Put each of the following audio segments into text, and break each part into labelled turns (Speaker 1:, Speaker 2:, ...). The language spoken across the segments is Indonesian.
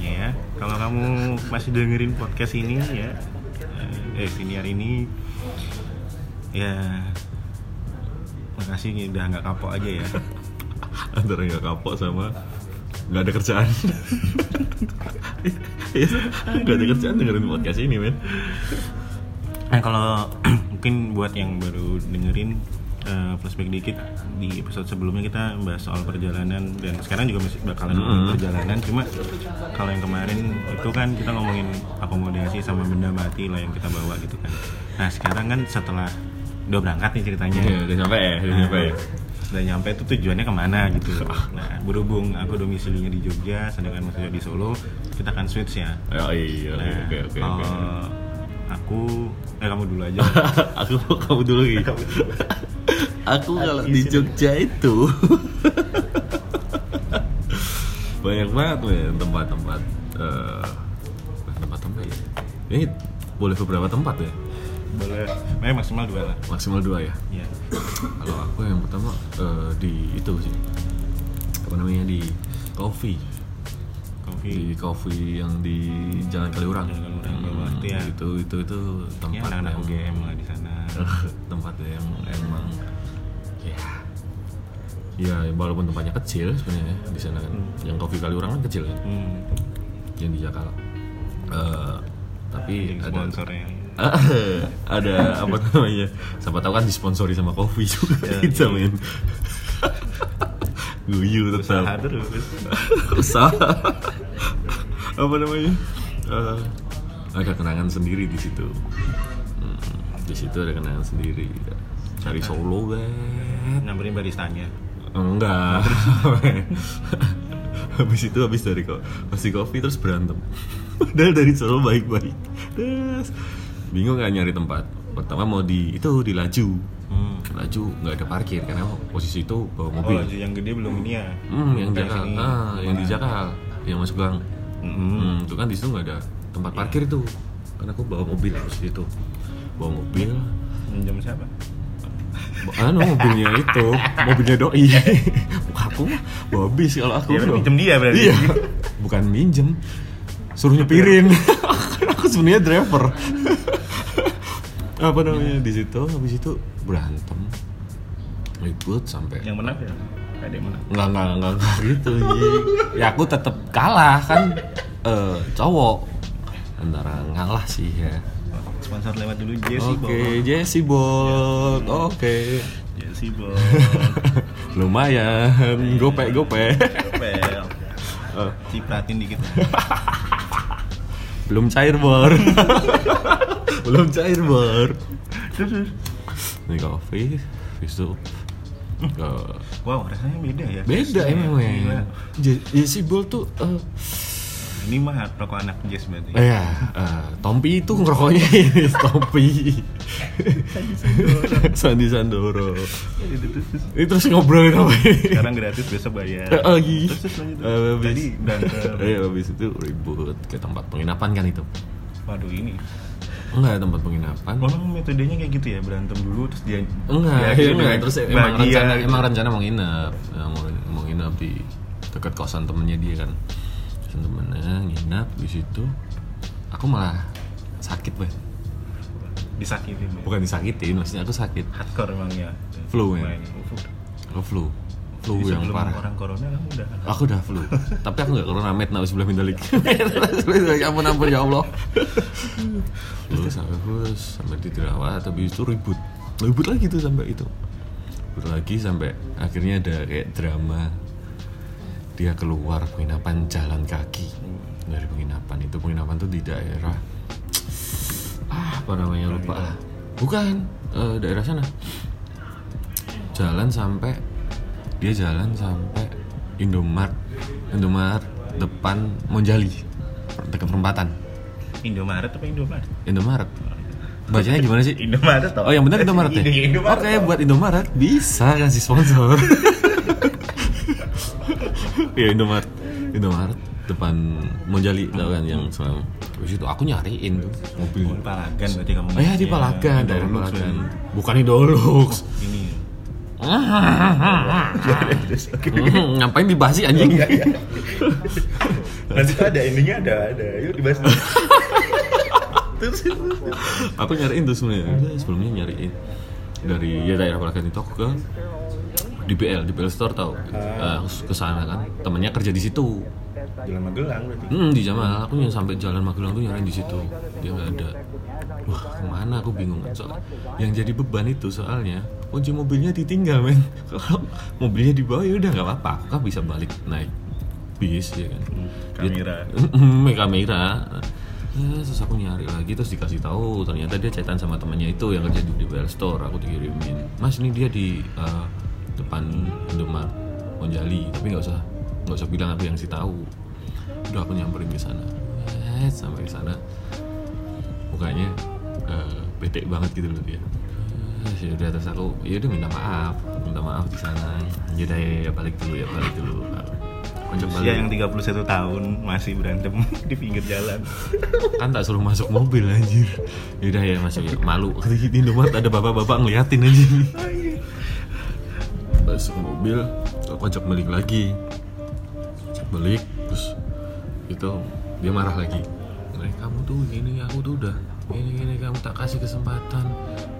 Speaker 1: ya. masih dengerin podcast ini ya eh senior ini ya makasih nih, udah nggak kapok aja ya
Speaker 2: antara nggak kapok sama nggak ada kerjaan Iya, nggak ada kerjaan dengerin podcast ini men
Speaker 1: nah kalau mungkin buat yang baru dengerin eh, flashback dikit di episode sebelumnya kita bahas soal perjalanan dan sekarang juga masih bakalan ngomongin
Speaker 2: Mm-mm.
Speaker 1: perjalanan cuma kalau yang kemarin itu kan kita ngomongin akomodasi sama benda mati lah yang kita bawa gitu kan nah sekarang kan setelah udah berangkat nih ceritanya
Speaker 2: Iya, udah sampai ya udah
Speaker 1: Nah,
Speaker 2: sampai ya
Speaker 1: udah nyampe itu tujuannya kemana gitu nah berhubung aku domisilinya di Jogja sedangkan Mas Yoyo di Solo kita akan switch ya
Speaker 2: Ya, iya
Speaker 1: nah
Speaker 2: oke oke oke
Speaker 1: eh, aku eh kamu dulu aja
Speaker 2: aku kamu dulu Gi. aku kalau di Jogja itu banyak banget men tempat-tempat eh, tempat-tempat ya ini boleh beberapa tempat ya
Speaker 1: boleh Makanya maksimal dua lah
Speaker 2: maksimal dua ya
Speaker 1: ya
Speaker 2: kalau aku yang pertama eh, di itu sih apa namanya di coffee
Speaker 1: kopi
Speaker 2: di coffee yang di Jalan Kaliurang
Speaker 1: Iya.
Speaker 2: Hmm,
Speaker 1: Jalan Kaliurang, bawah itu ya.
Speaker 2: itu itu itu
Speaker 1: ya
Speaker 2: tempat
Speaker 1: anak-anak
Speaker 2: yang-
Speaker 1: UGM lah di sana
Speaker 2: tempat yang emang ya ya walaupun tempatnya kecil sebenarnya di sana kan yang kopi kali orang kan kecil kan
Speaker 1: hmm,
Speaker 2: yang di Jakarta Eh, tapi
Speaker 1: Nah, jadi
Speaker 2: ada
Speaker 1: sponsornya
Speaker 2: ada apa namanya siapa tahu kan disponsori sama kopi juga
Speaker 1: Ya,
Speaker 2: kita
Speaker 1: iya.
Speaker 2: men guyu
Speaker 1: usaha
Speaker 2: tetap
Speaker 1: terus
Speaker 2: usaha apa namanya Eh, ada kenangan sendiri di situ Hmm, di situ ada kenangan sendiri ya. cari solo bet Oh,
Speaker 1: nyamperin baristanya
Speaker 2: enggak habis itu habis dari kok pasti kopi terus berantem padahal dari solo baik-baik Terus, bingung nggak nyari tempat pertama mau di itu di laju
Speaker 1: hmm.
Speaker 2: laju nggak ada parkir karena posisi itu bawa
Speaker 1: oh
Speaker 2: mobil
Speaker 1: yang gede belum ini ya
Speaker 2: Hmm, yang di
Speaker 1: Kayak
Speaker 2: Jakal,
Speaker 1: sini.
Speaker 2: ah, yang di Jakal, yang masuk gang. Hmm, itu kan di situ nggak ada tempat
Speaker 1: Iya.
Speaker 2: parkir itu. Karena aku bawa mobil terus itu, bawa mobil.
Speaker 1: Minjem siapa
Speaker 2: ba- Anu mobilnya itu, mobilnya doi. Bukan aku mah, bawa bis kalau aku.
Speaker 1: Ya, berarti
Speaker 2: bro.
Speaker 1: minjem dia berarti.
Speaker 2: Iya, bukan minjem, suruh nyepirin.
Speaker 1: Iya.
Speaker 2: Karena aku sebenarnya driver. Apa namanya di situ? Habis itu berantem, ribut sampai
Speaker 1: yang menang ya Nggak ada yang menang
Speaker 2: nggak nggak nggak nggak gitu Ji. ya aku tetap kalah kan eh, cowok antara ngalah sih ya
Speaker 1: sponsor lewat dulu Jesse
Speaker 2: oke
Speaker 1: Ball
Speaker 2: Jesse Bolt oke
Speaker 1: Jesse Ball
Speaker 2: lumayan gope gope
Speaker 1: Pel
Speaker 2: Eh,
Speaker 1: cipratin dikit
Speaker 2: belum cair bor belum cair bor
Speaker 1: terus terus.
Speaker 2: ini kopi habis itu ke
Speaker 1: wow rasanya beda ya
Speaker 2: eh, beda emang
Speaker 1: Gila.
Speaker 2: men. Je- Jesse Iya. Bolt tuh eh,
Speaker 1: ini mah rokok anak jazz berarti
Speaker 2: Eh, ya, eh, Tompi itu ngerokoknya ini, Tompi. Sandi Sandoro.
Speaker 1: Iya, gitu, Terus, terus.
Speaker 2: Ini terus ngobrolin apa ini?
Speaker 1: sekarang gratis besok bayar
Speaker 2: Eh, lagi.
Speaker 1: terus terus lanjut
Speaker 2: Eh, habis-
Speaker 1: jadi berantem
Speaker 2: Eh, habis itu ribut ke tempat penginapan kan itu?
Speaker 1: waduh ini
Speaker 2: Enggak, tempat penginapan.
Speaker 1: orang metodenya kayak gitu ya berantem dulu terus dia
Speaker 2: Enggak,
Speaker 1: dia-
Speaker 2: enggak.
Speaker 1: dia
Speaker 2: Terus
Speaker 1: Ya,
Speaker 2: emang
Speaker 1: bahagia
Speaker 2: rencana,
Speaker 1: gitu.
Speaker 2: emang rencana mau nginep, Ya, mau, mau nginep di dekat kosan temennya dia kan. Kosan temennya nginep di situ. Aku malah sakit banget.
Speaker 1: disakitin ya.
Speaker 2: Bukan disakitin, maksudnya aku sakit.
Speaker 1: hardcore emangnya
Speaker 2: Flu, ya?
Speaker 1: Main. Oh, flu.
Speaker 2: Aku flu. Flu
Speaker 1: Jadi
Speaker 2: yang
Speaker 1: sebelum
Speaker 2: parah.
Speaker 1: orang corona kamu udah
Speaker 2: Aku udah flu, tapi aku gak corona med nah sebelah mindalik. ampun ampun ya Allah. Flu sampai flu sampai di dirawat, tapi itu ribut, ribut lagi tuh sampai itu, ribut lagi sampai akhirnya ada kayak drama. Dia keluar penginapan jalan kaki dari penginapan itu penginapan tuh di daerah ah apa namanya lupa lah. Bukan eh, daerah sana. Jalan sampai dia jalan sampai Indomart Indomart depan Monjali dekat perempatan
Speaker 1: Indomaret apa Indomaret
Speaker 2: Indomaret bacanya gimana sih
Speaker 1: Indomaret toh.
Speaker 2: oh yang benar Indomaret ya
Speaker 1: Iya, Indomaret
Speaker 2: oke
Speaker 1: toh.
Speaker 2: buat Indomaret bisa kasih sponsor ya Indomaret Indomaret depan Monjali tau kan yang selalu Habis itu aku nyariin tuh mobil
Speaker 1: Di Palagan berarti kamu.
Speaker 2: oh ya di Palagan dari
Speaker 1: Dahulu
Speaker 2: Palagan
Speaker 1: sudah-
Speaker 2: bukan Idolux
Speaker 1: Ini. Iya.
Speaker 2: Hmm, ngapain dibahas sih anjing?
Speaker 1: Nanti ada endingnya ada, ada. Yuk dibahas.
Speaker 2: Terus- aku nyariin tuh sebenarnya Udah, sebelumnya nyariin dari ya daerah Parakan itu aku ke DBL DBL store tau Eh, aku ke sana kan temennya kerja di situ
Speaker 1: Jalan Magelang berarti.
Speaker 2: Hmm, di Jamal aku yang sampai jalan Magelang tuh nyariin di situ dia nggak ada wah kemana aku bingung kan soal yang jadi beban itu soalnya kunci mobilnya ditinggal men kalau mobilnya dibawa ya udah nggak apa-apa aku kan bisa balik naik bis ya kan
Speaker 1: Kamera.
Speaker 2: Mm, kamera Eh, terus aku nyari lagi terus dikasih tahu ternyata dia cetan sama temannya itu yang kerja di DBL store aku dikirimin mas ini dia di eh, depan Indomart Monjali tapi nggak usah nggak usah bilang aku yang sih tahu udah aku nyamperin ke sana eh, sampai ke sana mukanya eh, bete banget gitu loh dia Eh, ya udah terus aku ya udah minta maaf minta maaf di sana ya udah ya, ya, balik dulu ya balik dulu aku coba
Speaker 1: Usia Iya, yang 31 tahun masih berantem di pinggir jalan.
Speaker 2: kan tak suruh masuk mobil anjir yaudah ya masuk ya malu di Indomaret ada bapak-bapak ngeliatin anjir masuk mobil aku ajak balik lagi ajak balik terus itu dia marah lagi "Nek, kamu tuh gini aku tuh udah ini gini kamu tak kasih kesempatan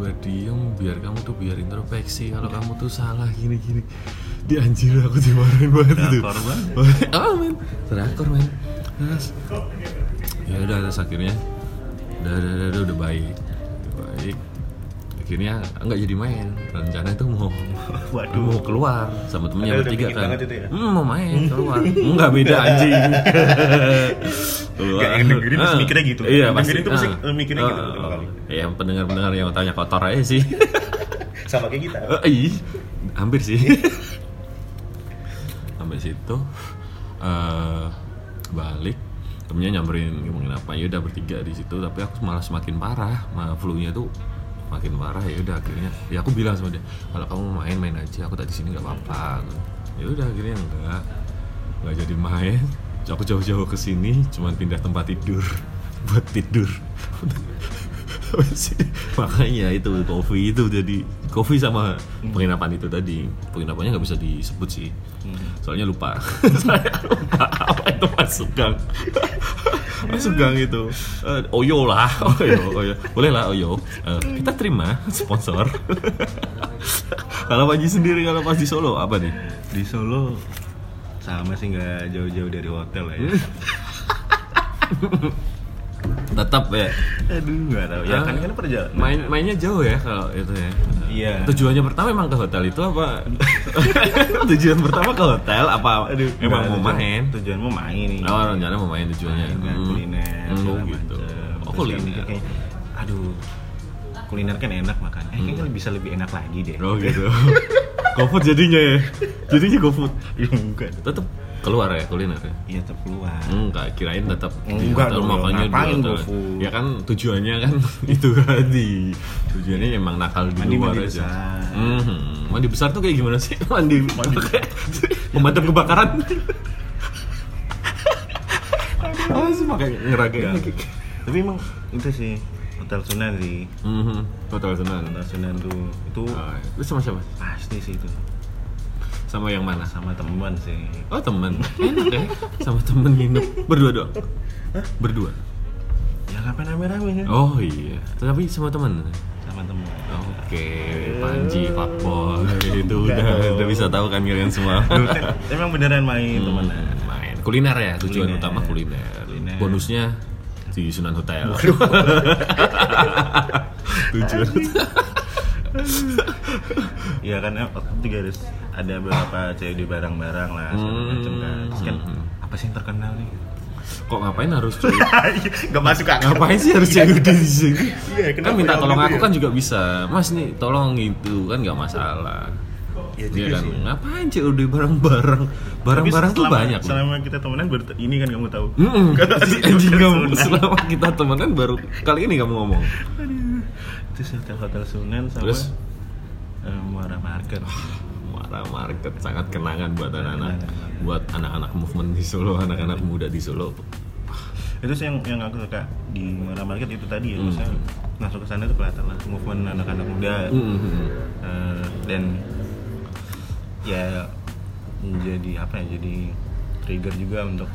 Speaker 2: buat diem biar kamu tuh biar introspeksi kalau kamu tuh salah gini gini dia anjir aku dimarahin banget itu
Speaker 1: Drakor banget.
Speaker 2: ah men terakor men terus ya udah terus akhirnya udah udah udah, udah, udah baik udah baik akhirnya "Ah, nggak jadi main rencana itu mau
Speaker 1: Waduh.
Speaker 2: mau keluar sama temennya
Speaker 1: Padahal udah
Speaker 2: bertiga
Speaker 1: pingin
Speaker 2: kan
Speaker 1: banget itu ya?
Speaker 2: Hmm, mau main keluar nggak beda anjing Keluar.
Speaker 1: Nggak, yang dengerin pasti
Speaker 2: Ah,
Speaker 1: mikirnya gitu.
Speaker 2: iya
Speaker 1: Yang
Speaker 2: pasti
Speaker 1: dengerin tuh pasti,
Speaker 2: ah.
Speaker 1: eh, mikirnya gitu
Speaker 2: Ah,
Speaker 1: pertama kali.
Speaker 2: iya, yang pendengar pendengar yang tanya kotor aja sih
Speaker 1: Sama kayak kita.
Speaker 2: Eh, Ih, hampir sih. Sampai situ eh balik temennya nyamperin ngomongin apa ya udah bertiga di situ tapi aku malah semakin parah malah flu-nya tuh makin parah ya udah akhirnya ya aku bilang sama dia kalau kamu mau main main aja aku tak di sini nggak apa-apa ya udah akhirnya enggak nggak jadi main aku jauh-jauh ke sini cuman pindah tempat tidur buat tidur makanya itu kopi itu jadi kopi sama penginapan itu tadi penginapannya nggak bisa disebut sih
Speaker 1: Hmm.
Speaker 2: soalnya lupa saya lupa apa itu masuk gang masuk gang itu Eh, oyo lah oyo oyo boleh lah oyo Eh, kita terima sponsor kalau Panji sendiri kalau pas di Solo apa nih
Speaker 1: Di Solo sama sih nggak jauh-jauh dari hotel ya.
Speaker 2: tetap ya
Speaker 1: Aduh nggak tahu. Ya kan
Speaker 2: Ah,
Speaker 1: kan perjalanan.
Speaker 2: main mainnya jauh ya kalau itu ya
Speaker 1: Iya.
Speaker 2: tujuannya pertama emang ke hotel itu apa tujuan pertama ke hotel apa emang
Speaker 1: nggak,
Speaker 2: mau
Speaker 1: tujuan-
Speaker 2: main
Speaker 1: Tujuan mau main nih.
Speaker 2: oh rencana mau main tujuannya
Speaker 1: Nah,
Speaker 2: Hmm.
Speaker 1: kuliner
Speaker 2: Hmm,
Speaker 1: segala macem.
Speaker 2: gitu oh
Speaker 1: Terus
Speaker 2: kuliner
Speaker 1: kayak mikir kayak, aduh kuliner kan enak makan eh kayaknya bisa lebih enak lagi deh
Speaker 2: Hmm. oh gitu GoFood jadinya ya jadinya GoFood
Speaker 1: ya enggak dong.
Speaker 2: tetap keluar ya kuliner ya
Speaker 1: iya tetap keluar
Speaker 2: Enggak, kirain tetap
Speaker 1: Enggak dong,
Speaker 2: makanya di
Speaker 1: ngapain
Speaker 2: hotel.
Speaker 1: GoFood?
Speaker 2: Ya kan tujuannya kan itu tadi. Tujuannya emang nakal di
Speaker 1: Mandi-
Speaker 2: luar
Speaker 1: mandi
Speaker 2: aja.
Speaker 1: besar.
Speaker 2: Mhm. Mandi besar tuh kayak gimana sih? Mandi mandi pemadam kebakaran. Ah, sih makanya ngeragain.
Speaker 1: tapi emang itu sih hotel Sunan sih
Speaker 2: Mhm. Hotel Sunan.
Speaker 1: hotel Sunan tuh itu
Speaker 2: Ah, Lu sama siapa?
Speaker 1: pasti sih itu
Speaker 2: Sama yang mana?
Speaker 1: sama teman sih
Speaker 2: Oh temen Enak ya Sama temen nginep Berdua doang? Berdua?
Speaker 1: ya ngapain rame-rame kan
Speaker 2: Oh iya Tapi sama temen
Speaker 1: sama teman
Speaker 2: Oke, Panji, Fakbol, itu udah, udah bisa tahu kan kalian semua.
Speaker 1: Loh, kan emang beneran main
Speaker 2: Hmm.
Speaker 1: temenan
Speaker 2: Main kuliner ya, tujuan
Speaker 1: Kuliner.
Speaker 2: utama kuliner.
Speaker 1: Kuliner.
Speaker 2: Bonusnya di Sunan Hotel. tujuan
Speaker 1: Iya kan eh, waktu itu juga harus ada beberapa COD barang-barang lah segala macam kan. Terus kan
Speaker 2: Hmm.
Speaker 1: apa sih yang terkenal nih?
Speaker 2: kok ngapain harus cuy?
Speaker 1: Gak masuk akal.
Speaker 2: Ngapain sih harus COD di sini?
Speaker 1: Iya,
Speaker 2: Kan
Speaker 1: kenapa
Speaker 2: minta
Speaker 1: yang
Speaker 2: tolong
Speaker 1: gitu
Speaker 2: aku
Speaker 1: ya?
Speaker 2: kan juga bisa. Mas nih, tolong gitu kan nggak masalah.
Speaker 1: Iya
Speaker 2: Iya
Speaker 1: juga
Speaker 2: kan,
Speaker 1: sih.
Speaker 2: ngapain COD bareng-bareng? Barang-barang
Speaker 1: Tapi
Speaker 2: tuh
Speaker 1: selama-
Speaker 2: banyak. loh.
Speaker 1: Selama kita temenan baru te- ini kan kamu tahu.
Speaker 2: Mm-mm.
Speaker 1: Kata
Speaker 2: Si
Speaker 1: si
Speaker 2: anjing
Speaker 1: Hotel
Speaker 2: kamu
Speaker 1: Sunan.
Speaker 2: selama kita temenan baru kali ini kamu ngomong.
Speaker 1: Itu sih hotel hotel Sunan sama
Speaker 2: Terus?
Speaker 1: eh, Muara Market.
Speaker 2: Muara Market sangat kenangan buat anak-anak,
Speaker 1: Kenangan.
Speaker 2: buat anak-anak movement di Solo, anak-anak muda di Solo.
Speaker 1: Itu sih yang yang aku suka di Muara Market itu tadi ya.
Speaker 2: Mm.
Speaker 1: Maksudnya masuk ke sana tuh kelihatan lah movement anak-anak muda.
Speaker 2: Hmm. Mm. Mm-mm.
Speaker 1: Eh, dan ya menjadi apa ya jadi trigger juga untuk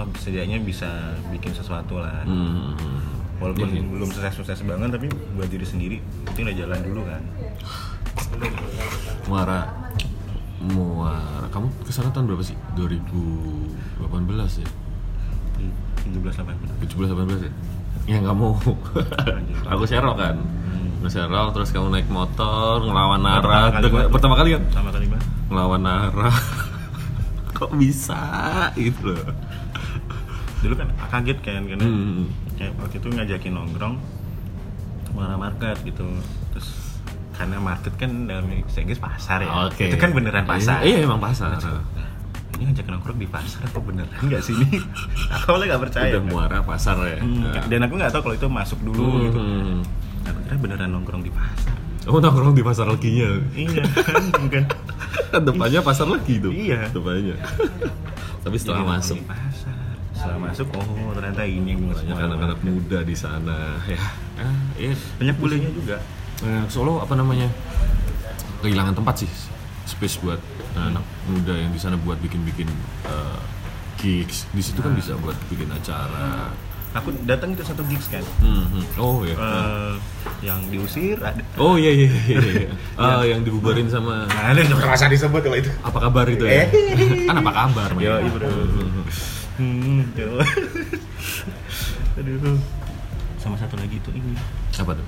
Speaker 1: oh, setidaknya bisa bikin sesuatu lah
Speaker 2: Hmm, hmm, hmm.
Speaker 1: walaupun
Speaker 2: Iya, iya.
Speaker 1: belum sukses-sukses banget tapi buat diri sendiri itu udah jalan dulu kan
Speaker 2: Muara Muara kamu kesana tahun berapa sih 2018 ya
Speaker 1: 17 18
Speaker 2: 17 18 ya yang kamu aku serok kan Aku serok terus kamu naik motor ngelawan arah
Speaker 1: kali banget.
Speaker 2: pertama kali kan
Speaker 1: sama kali banget
Speaker 2: ngelawan arah kok bisa gitu loh
Speaker 1: dulu kan kaget kan karena
Speaker 2: Hmm.
Speaker 1: kayak waktu itu ngajakin nongkrong warna market gitu terus karena market kan dalam bahasa Inggris pasar ya
Speaker 2: Oke.
Speaker 1: itu kan beneran pasar
Speaker 2: Iya, iya, emang pasar.
Speaker 1: Nah, ini ngajak nongkrong di pasar apa beneran nggak sih ini aku awalnya nggak percaya
Speaker 2: Udah muara pasar ya.
Speaker 1: Iya. Hmm,
Speaker 2: Nah.
Speaker 1: dan aku nggak tahu kalau itu masuk dulu gitu
Speaker 2: Hmm.
Speaker 1: aku kira beneran nongkrong di pasar
Speaker 2: Kamu nongkrong di pasar leginya.
Speaker 1: iya kan bukan
Speaker 2: Kan depannya pasar legi tuh.
Speaker 1: Iya.
Speaker 2: Depannya.
Speaker 1: Jadi
Speaker 2: Tapi setelah
Speaker 1: nongkrong
Speaker 2: masuk
Speaker 1: di pasar Iya. setelah masuk oh ternyata ini yang
Speaker 2: banyak
Speaker 1: semua
Speaker 2: anak-anak muda di sana ya. Ah, iya.
Speaker 1: banyak bulenya juga
Speaker 2: Nah, Solo apa namanya? Kehilangan tempat sih space buat anak muda yang di sana buat bikin-bikin eh, gigs. Di situ kan
Speaker 1: Ah.
Speaker 2: bisa buat bikin acara.
Speaker 1: aku datang itu satu gigs kan
Speaker 2: Hmm, hmm. Oh ya.
Speaker 1: Eh, yang diusir ada
Speaker 2: Oh iya iya iya. iya. Ah, yang dibubarin sama
Speaker 1: Nah, ini nggak merasa disebut kalau itu.
Speaker 2: apa kabar itu ya? kan apa kabar? men?
Speaker 1: Yo, iya, bro. Hmm, gitu. Aduh. Sama satu lagi itu ini
Speaker 2: Apa tuh?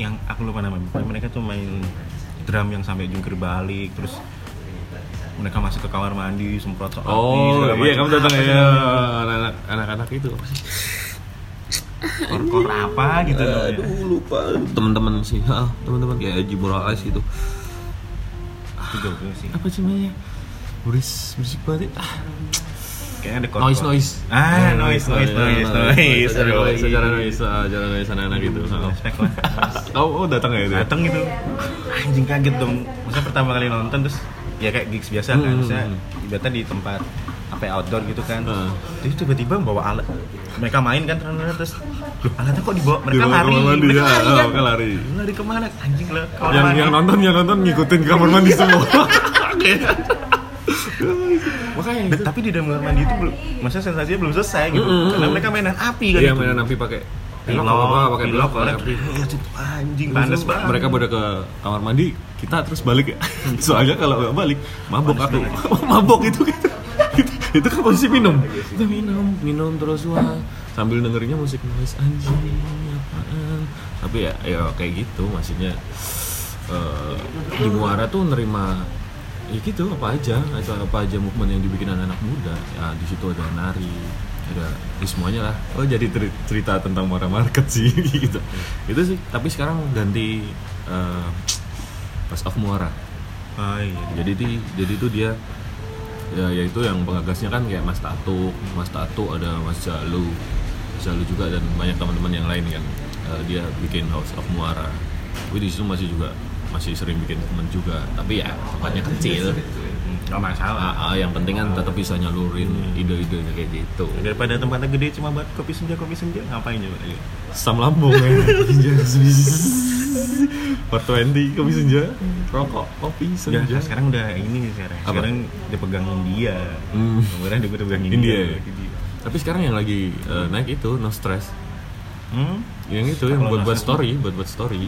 Speaker 1: yang aku lupa namanya. Pokoknya mereka tuh main drum yang sampai jungkir balik terus mereka masuk ke kamar mandi semprot soal
Speaker 2: Oh iya kamu datang ya anak-anak anak-anak itu apa sih?
Speaker 1: kor-kor apa gitu dong ya.
Speaker 2: Eh, Aduh lupa teman-teman sih, ah, teman-teman kayak Haji Morales gitu.
Speaker 1: itu jago sih
Speaker 2: Apa sih namanya? Beris musik banget. Ah,
Speaker 1: kayaknya ada kor-kor
Speaker 2: noise noise. Iya,
Speaker 1: ah noise noise noise noise
Speaker 2: Acara
Speaker 1: Aduh.
Speaker 2: noise, acara iya, noise, ah, acara noise anak-anak gitu. Ah.
Speaker 1: Respect lah.
Speaker 2: Kamu kamu datang ya itu?
Speaker 1: dateng gitu anjing kaget dong maksudnya pertama kali nonton terus ya kayak gigs biasa kan
Speaker 2: Hmm.
Speaker 1: maksudnya ibaratnya di tempat apa ya, outdoor gitu kan
Speaker 2: Hmm.
Speaker 1: terus tiba-tiba bawa alat mereka main kan terus- terus loh, alatnya kok dibawa mereka
Speaker 2: Di kamar
Speaker 1: lari
Speaker 2: mandi,
Speaker 1: mereka
Speaker 2: ya,
Speaker 1: lari
Speaker 2: ah,
Speaker 1: kan
Speaker 2: mereka lari.
Speaker 1: Lu lari kemana anjing lah kamar
Speaker 2: Yang
Speaker 1: mandi.
Speaker 2: yang nonton yang nonton ngikutin kamar mandi semua. Makanya
Speaker 1: Da- tapi di dalam kamar mandi itu belum maksudnya sensasinya belum selesai gitu
Speaker 2: Mm-mm.
Speaker 1: karena mereka mainan api kan
Speaker 2: Hmm, Iya
Speaker 1: itu.
Speaker 2: mainan api pakai
Speaker 1: Pilok,
Speaker 2: pilok apa pakai
Speaker 1: pilok,
Speaker 2: pilok pakai
Speaker 1: korek.
Speaker 2: api.
Speaker 1: Iya, itu anjing panas
Speaker 2: Terus
Speaker 1: banget
Speaker 2: Mereka pada ke kamar mandi, kita terus balik ya. Soalnya kalau nggak balik, mabok aku. mabok itu gitu. itu, itu kan posisi minum. Kita minum, minum terus wah sambil dengerinnya musik noise anjing apaan. Tapi ya ya kayak gitu maksudnya eh, di Muara tuh nerima ya gitu apa aja atau apa aja movement yang dibikin anak-anak muda ya di situ ada nari ada ya semuanya lah oh jadi teri- cerita tentang Muara Market sih gitu itu sih tapi sekarang ganti eh, Pas of Muara
Speaker 1: Ah, iya.
Speaker 2: jadi di jadi itu dia ya yaitu yang pengagasnya kan kayak Mas Tato Mas Tato ada Mas Jalu Mas Jalu juga dan banyak teman-teman yang lain kan Eh, dia bikin House of Muara tapi di situ masih juga masih sering bikin temen juga tapi ya tempatnya kecil
Speaker 1: Hmm, nggak masalah
Speaker 2: Ah, ah, yang penting kan tetap bisa nyalurin ide-idenya kayak gitu
Speaker 1: daripada tempatnya gede cuma buat kopi senja kopi senja ngapain gitu? coba ayo
Speaker 2: Sam lambung ya Per 20 kopi senja Rokok, kopi,
Speaker 1: Ya,
Speaker 2: senja
Speaker 1: sekarang udah ini sekarang.
Speaker 2: Apa?
Speaker 1: Sekarang dipegang India.
Speaker 2: Hmm.
Speaker 1: Kemarin dia pegang India.
Speaker 2: India ya? Tapi sekarang yang lagi eh, naik itu No Stress
Speaker 1: Hmm?
Speaker 2: Ya, Yang itu yang
Speaker 1: Kalau
Speaker 2: buat buat
Speaker 1: nasi-
Speaker 2: story, buat buat story,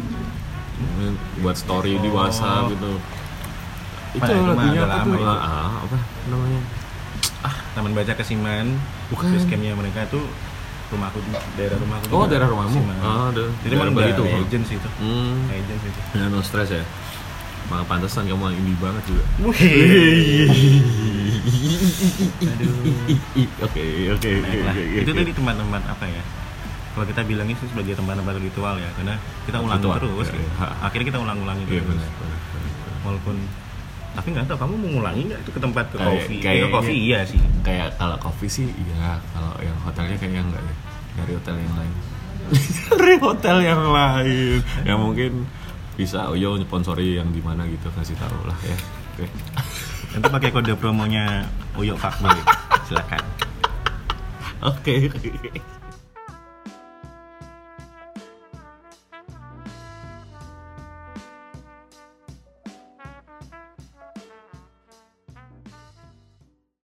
Speaker 2: Yang buat story di
Speaker 1: Oh.
Speaker 2: WhatsApp gitu.
Speaker 1: Apa ya,
Speaker 2: Itu
Speaker 1: itu mah
Speaker 2: lagunya
Speaker 1: agak
Speaker 2: apa tuh?
Speaker 1: lama itu.
Speaker 2: Ah, ah, apa namanya?
Speaker 1: Taman Baca Kesiman.
Speaker 2: Bukan.
Speaker 1: Basecampnya mereka tuh rumahku daerah rumahku.
Speaker 2: Oh,
Speaker 1: juga,
Speaker 2: daerah rumahmu.
Speaker 1: Kesiman.
Speaker 2: Ah, ada.
Speaker 1: Jadi
Speaker 2: Daerah
Speaker 1: emang
Speaker 2: Bali
Speaker 1: udah
Speaker 2: tuh.
Speaker 1: legend sih itu.
Speaker 2: Hmm,
Speaker 1: Legend sih itu.
Speaker 2: ya no stress ya. Maka pantesan kamu yang indie banget juga.
Speaker 1: Wih. Iya.
Speaker 2: Iya, Oke, oke, oke,
Speaker 1: Baiklah.
Speaker 2: oke,
Speaker 1: Itu
Speaker 2: oke.
Speaker 1: tadi tempat-tempat apa ya? Kalau kita bilang itu sebagai tempat-tempat ritual ya, karena kita ulang
Speaker 2: Ritual,
Speaker 1: terus.
Speaker 2: iya,
Speaker 1: gitu.
Speaker 2: iya.
Speaker 1: Akhirnya kita ulang-ulang itu.
Speaker 2: Iya,
Speaker 1: terus.
Speaker 2: benar, benar, benar.
Speaker 1: Walaupun tapi nggak tahu kamu mengulangi nggak itu ke tempat ke
Speaker 2: Kayak-
Speaker 1: kopi. Eh, ke
Speaker 2: kayaknya-
Speaker 1: kopi iya sih.
Speaker 2: Kayak kalau kopi sih, ya kalau yang hotelnya kayaknya enggak ya. Dari hotel yang lain. Dari hotel yang lain. yang mungkin bisa Oyo sponsori yang di mana gitu kasih taruh lah ya. Oke.
Speaker 1: Nanti pakai kode promonya Uyuk Fuckboy. Silakan.
Speaker 2: Oke.